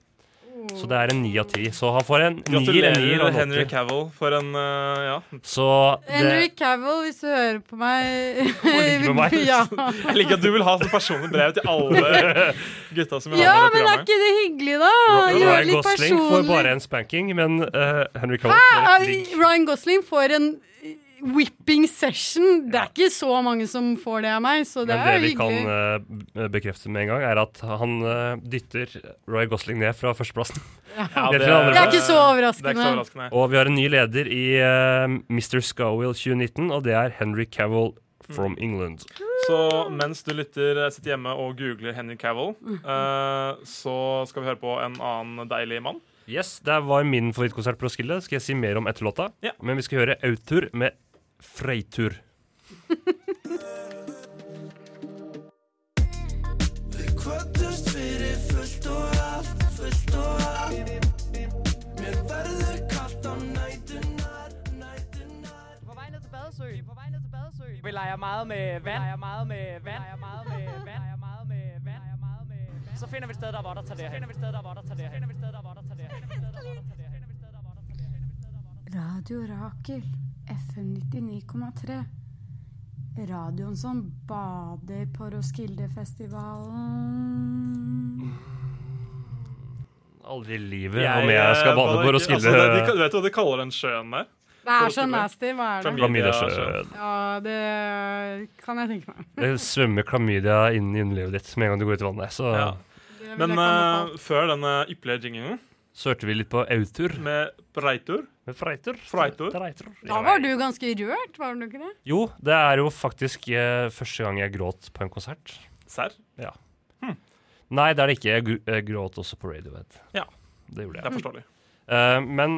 Så det er en ni av ti. Så han får en nier, en nier
Gratulerer,
og en
Henry
åtter.
Cavill, for en eh, Ja.
Så det
Henrik Cavill, hvis du hører på meg
med meg.
*laughs* Ja.
Jeg liker at du vil ha sånn personlig brev til alle
*laughs*
gutta som vil
ja,
ha med i
men
det
er
programmet.
ikke det hyggelig, da? Gjør det
Ryan
litt
Gosling får bare
personlig.
en spanking, men eh, Henry Cavill
Ah,
får et ligg.
Ryan Gosling får en eh, whipping session. Det er ikke så mange som får det av meg, så det
Men
er
det
jo
vi kan
hyggelig.
eh, b- bekrefte med en gang, er at han eh, dytter Roy Gosling ned fra førsteplassen. *laughs*
Ja,
Det tror jeg alle
Det
Det er
er ikke så
ikke så
overraskende.
overraskende.
Og vi har en ny leder i eh, Mr. Scowill 2019, og det er Henry Cavill from England.
Så mens du lytter, eh, sitter hjemme og googler Henry Cavill, eh, så skal vi høre på en annen deilig mann.
Yes, Det var min favorittkonsert på Roskilde. Skal jeg si mer om etter låta?
Ja.
Men vi skal høre Autur med Freitur.
Við kvöldust fyrir fullt og allt, fullt og allt Mér verður kallt á nætunar, nætunar På vej ned til Badesø, på vej ned til Badesø Vi leger meget med vand, leger meget med vand, leger meget med vand, leger meget med vand, leger meget med vand Så finder vi et sted, der hvor der tager det Så finder vi et sted, der hvor der tager det Så finder vi et sted, der hvor der tager det
Radio Rakel, FN 99,3. Radioen som bader på Roskildefestivalen.
Aldri i livet om jeg skal bade på Roskilde.
Altså, det,
*laughs*
de, vet du hva de kaller den sjøen der?
Det er så nasty. Hva er det?
altså.
Klamydiasjøen.
Ja, det kan jeg tenke meg.
Det svømmer klamydia inn i underlivet ditt med en gang du går ut i vannet. Så
Ja.
Det vil
Men
jeg ikke anbefale.
eh, før denne ypperlige jinglen
sørte vi litt på Autur
med Breitur
med Freitur.
Freitur.
Freitur.
Da var du ganske rørt, var du ikke det?
Jo, det er jo faktisk eh, første gang jeg gråt på en konsert.
Serr?
Nei, det er det ikke. Jeg gr- eh, gråt også på Radiohead.
Ja.
Det gjorde
Det er
jeg.
forståelig.
Eh, men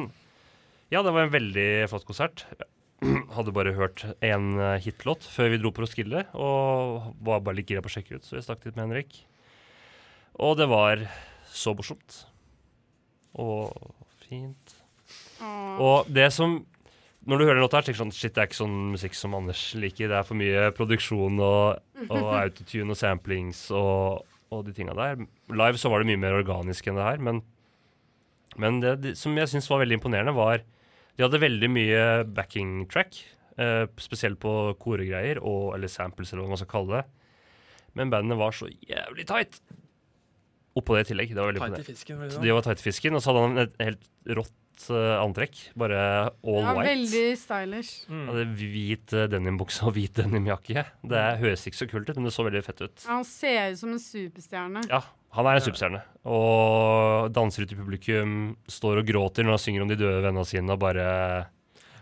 ja, det var en veldig flott konsert. *clears throat* Hadde bare hørt én eh, hitlåt før vi dro på Roskilde, og var bare litt gira på å sjekke ut, så jeg stakk dit med Henrik. Og det var så morsomt. Og fint.
Åh.
Og det som Når du hører den låta, her, tenker du sånn Shit, det er ikke sånn musikk som Anders liker. Det er for mye produksjon og, og autotune og samplings og, og de tinga der. Live så var det mye mer organisk enn det her, men, men det de- som jeg syns var veldig imponerende, var De hadde veldig mye backing track, eh, spesielt på koregreier, og, eller samples, eller hva man skal kalle det. Men bandene var så jævlig tight! Oppå det i tillegg. Det var veldig imponerende.
fisken,
Så de var tight fisken, og så hadde han et helt rått eh, antrekk. Bare all Mm.
Ja,
white.
veldig stylish.
Mm.
Han Hadde hvit eh, denimbukse og hvit denimjakke. Det
Mm.
høres ikke så kult ut, men det så veldig fett ut.
Ja, Han ser ut som en superstjerne.
Ja, han er en superstjerne. Og danser ut i publikum, står og gråter når han synger om de døde vennene sine, og bare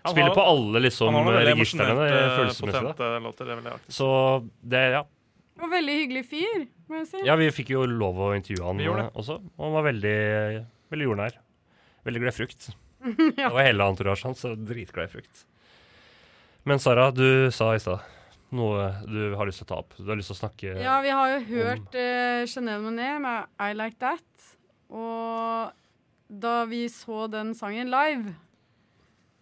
Han
spiller
har-
på alle
Han
liksom
har noen veldig
registrene
emosjonelt
eh,
eh,
følelsesmessig. da.
potente låter. Det er veldig artig.
Så det, ja.
Og veldig hyggelig fyr, må jeg si.
Ja, vi fikk jo lov å intervjue han
Vi gjorde det.
eh, også, og han var veldig, veldig jordnær. Veldig glad i frukt. Det var hele entourasjen hans, så dritglad i frukt. Men Sara, du sa i stad noe du har lyst til å ta opp. Du har lyst til å snakke
Ja, vi har jo hørt eh, Chanel Monet med I Like That. Og da vi så den sangen live,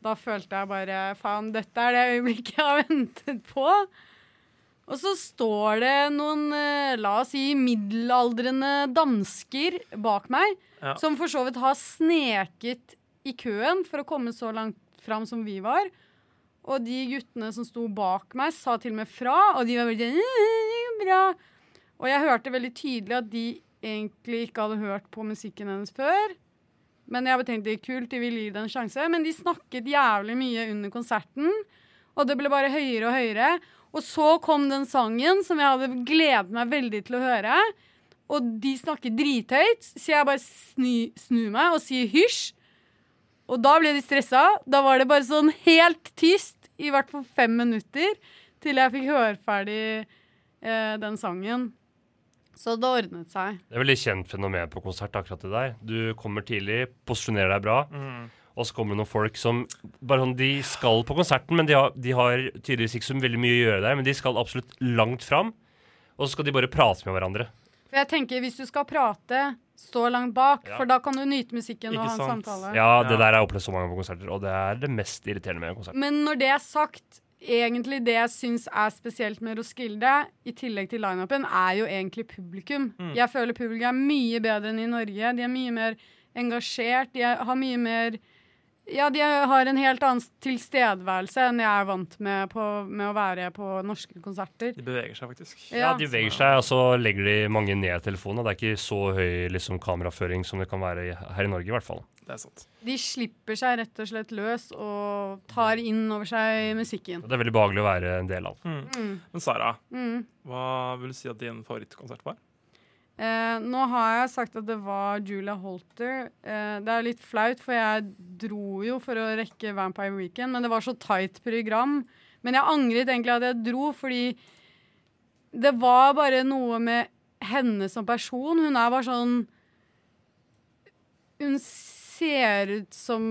da følte jeg bare faen, dette er det øyeblikket jeg har ventet på. Og så står det noen, eh, la oss si, middelaldrende dansker bak meg,
Ja.
som for så vidt har sneket i køen for å komme så langt fram som vi var. Og de guttene som sto bak meg, sa til og med fra, og de var veldig «Øh, det går bra. Og jeg hørte veldig tydelig at de egentlig ikke hadde hørt på musikken hennes før. Men jeg bare tenkte kult, de vil gi det en sjanse. Men de snakket jævlig mye under konserten, og det ble bare høyere og høyere. Og så kom den sangen som jeg hadde gledet meg veldig til å høre. Og de snakker drithøyt, så jeg bare snu- snur meg og sier hysj. Og da ble de stressa. Da var det bare sånn helt tyst i hvert fall fem minutter til jeg fikk høre ferdig eh, den sangen. Så det ordnet seg.
Det er veldig kjent fenomen på konsert, akkurat det der. Du kommer tidlig, posisjonerer deg bra,
Mm.
og så kommer det noen folk som bare sånn, De skal på konserten, men de har, de har tydeligvis ikke så veldig mye å gjøre der. Men de skal absolutt langt fram, og så skal de bare prate med hverandre.
For jeg tenker, hvis du skal prate, stå langt bak,
Ja.
for da kan du nyte musikken og
Ikke
ha en
sant?
samtale.
Ja,
Ja.
det
Mm.
der er opplevd så mange ganger på konserter, og det er det mest irriterende med en konsert.
Men når det er sagt, egentlig det jeg syns er spesielt med Roskilde, i tillegg til lineupen, er jo egentlig publikum. Jeg føler publikum er mye bedre enn i Norge. De er mye mer engasjert. De er, har mye mer Ja, de er- har en helt annen s- tilstedeværelse enn jeg er vant med, på, med å være på norske konserter.
De beveger seg faktisk.
Ja, de beveger seg, og så legger de mange ned telefonene. Det er ikke så høy liksom, kameraføring som det kan være i- her i Norge, i hvert fall.
Det er sant.
De slipper seg rett og slett løs og tar inn over seg musikken.
Og Det er veldig behagelig å være en del av.
Mm. Men Sara,
Mm.
hva vil du si at din favorittkonsert var?
Eh, nå har jeg sagt at det var Julia Holter. Eh, det er litt flaut, for jeg dro jo for å rekke Vampire Weekend, men det var så tight program. Men jeg angret egentlig at jeg dro, fordi Det var bare noe med henne som person. Hun er bare sånn Hun ser ut som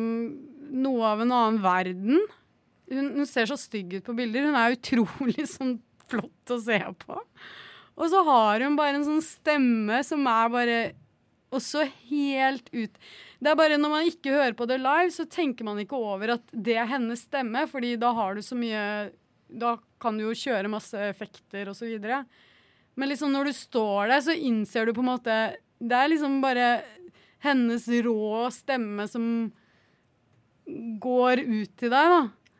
noe av en annen verden. Hun, hun ser så stygg ut på bilder. Hun er utrolig *laughs* sånn flott å se på. Og så har hun bare en sånn stemme som er bare også helt ut Det er bare når man ikke hører på det live, så tenker man ikke over at det er hennes stemme, fordi da har du så mye Da kan du jo kjøre masse effekter og så videre. Men liksom når du står der, så innser du på en måte Det er liksom bare hennes rå stemme som går ut til deg, da.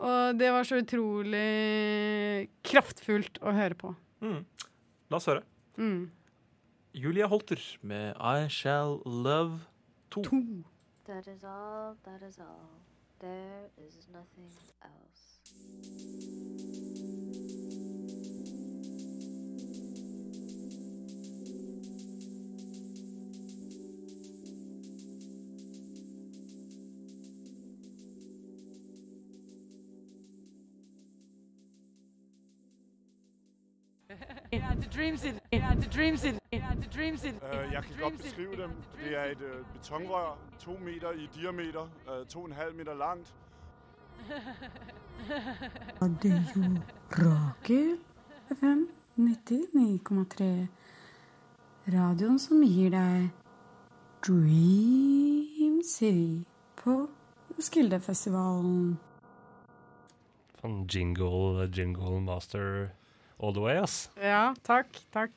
Og det var så utrolig kraftfullt å høre på.
Mm. La oss høre.
Mm.
Julia Holter med I Shall Love 2.
That is all, that is all. There is nothing else.
Øh, jeg kan godt beskrive dem. Det er et øh, betonrør, to meter i diameter, øh, to og en halv meter langt.
Radio Rakel FM 99,3. Radioen som gir deg Dream City på Skildefestivalen.
Fan, Sånn jingle, jingle master all the way, ass.
Ja, takk. Takk.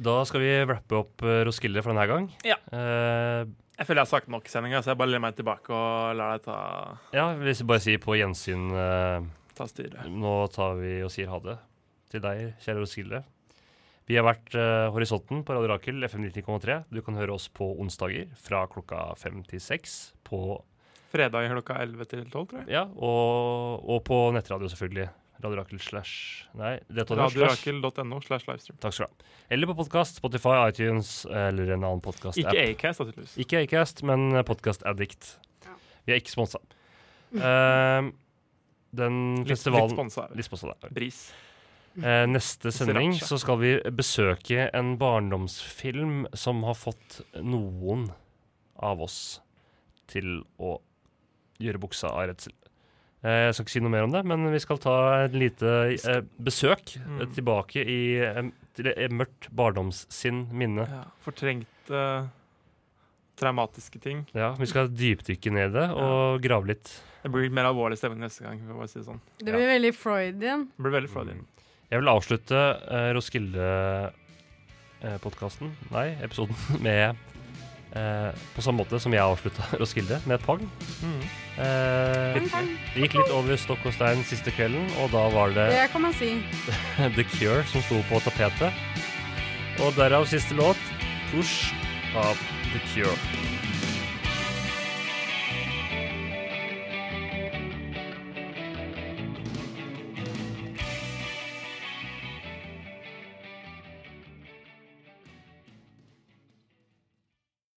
Da skal vi wrappe opp eh, Roskilde for denne gang.
Ja.
Eh,
Jeg føler jeg har sagt nok i sendinga, så jeg bare lener meg tilbake og lar deg ta
ja, hvis vi bare sier på gjensyn eh,
Ta styret.
Nå tar vi og sier ha det til deg, kjære Roskilde. Vi har vært eh, Horisonten på Radio Rakel, FM 19,3. Du kan høre oss på onsdager fra klokka fem til seks. På,
Fredag klokka 11 til 12, tror jeg.
ja, og, og på nettradio, selvfølgelig. Radio Rakel slash Nei, det tar slash-
Radiorakel.no slash livestream.
Takk skal du ha. Eller på podkast, Spotify, iTunes eller en annen podkast-app.
Ikke Acast, da, tydeligvis.
Ikke Acast, men Podcast Addict. Vi er ikke sponsa. Ehm, den
Litt-
festivalen
litt sponsa er vi.
Litt sponsa, det er vi.
Bris.
Eh, neste sending
Sriracha.
så skal vi besøke en barndomsfilm som har fått noen av oss til å gjøre buksa av redsel. Eh, jeg skal ikke si noe mer om det, men vi skal ta et lite eh, besøk eh,
Mm.
tilbake i em, til et mørkt barndomssinn, minne.
Ja. Fortrengt eh, traumatiske ting.
Ja, vi skal dypdykke ned i det og grave litt.
Det blir litt mer alvorlig stemning neste gang. for å bare si det sånn.
Det blir veldig Freudian.
Det blir
Mm.
veldig flott.
Jeg vil avslutte eh, Roskilde-podkasten, nei, episoden, *laughs* med eh, På samme måte som jeg avslutta *laughs* Roskilde, med et pang.
Mhm.
Eh, det gikk litt over stokk og stein siste kvelden, og da var det *laughs*
Det kan man si.
The Cure som sto på tapetet. Og derav siste låt, 'Push' av The Cure.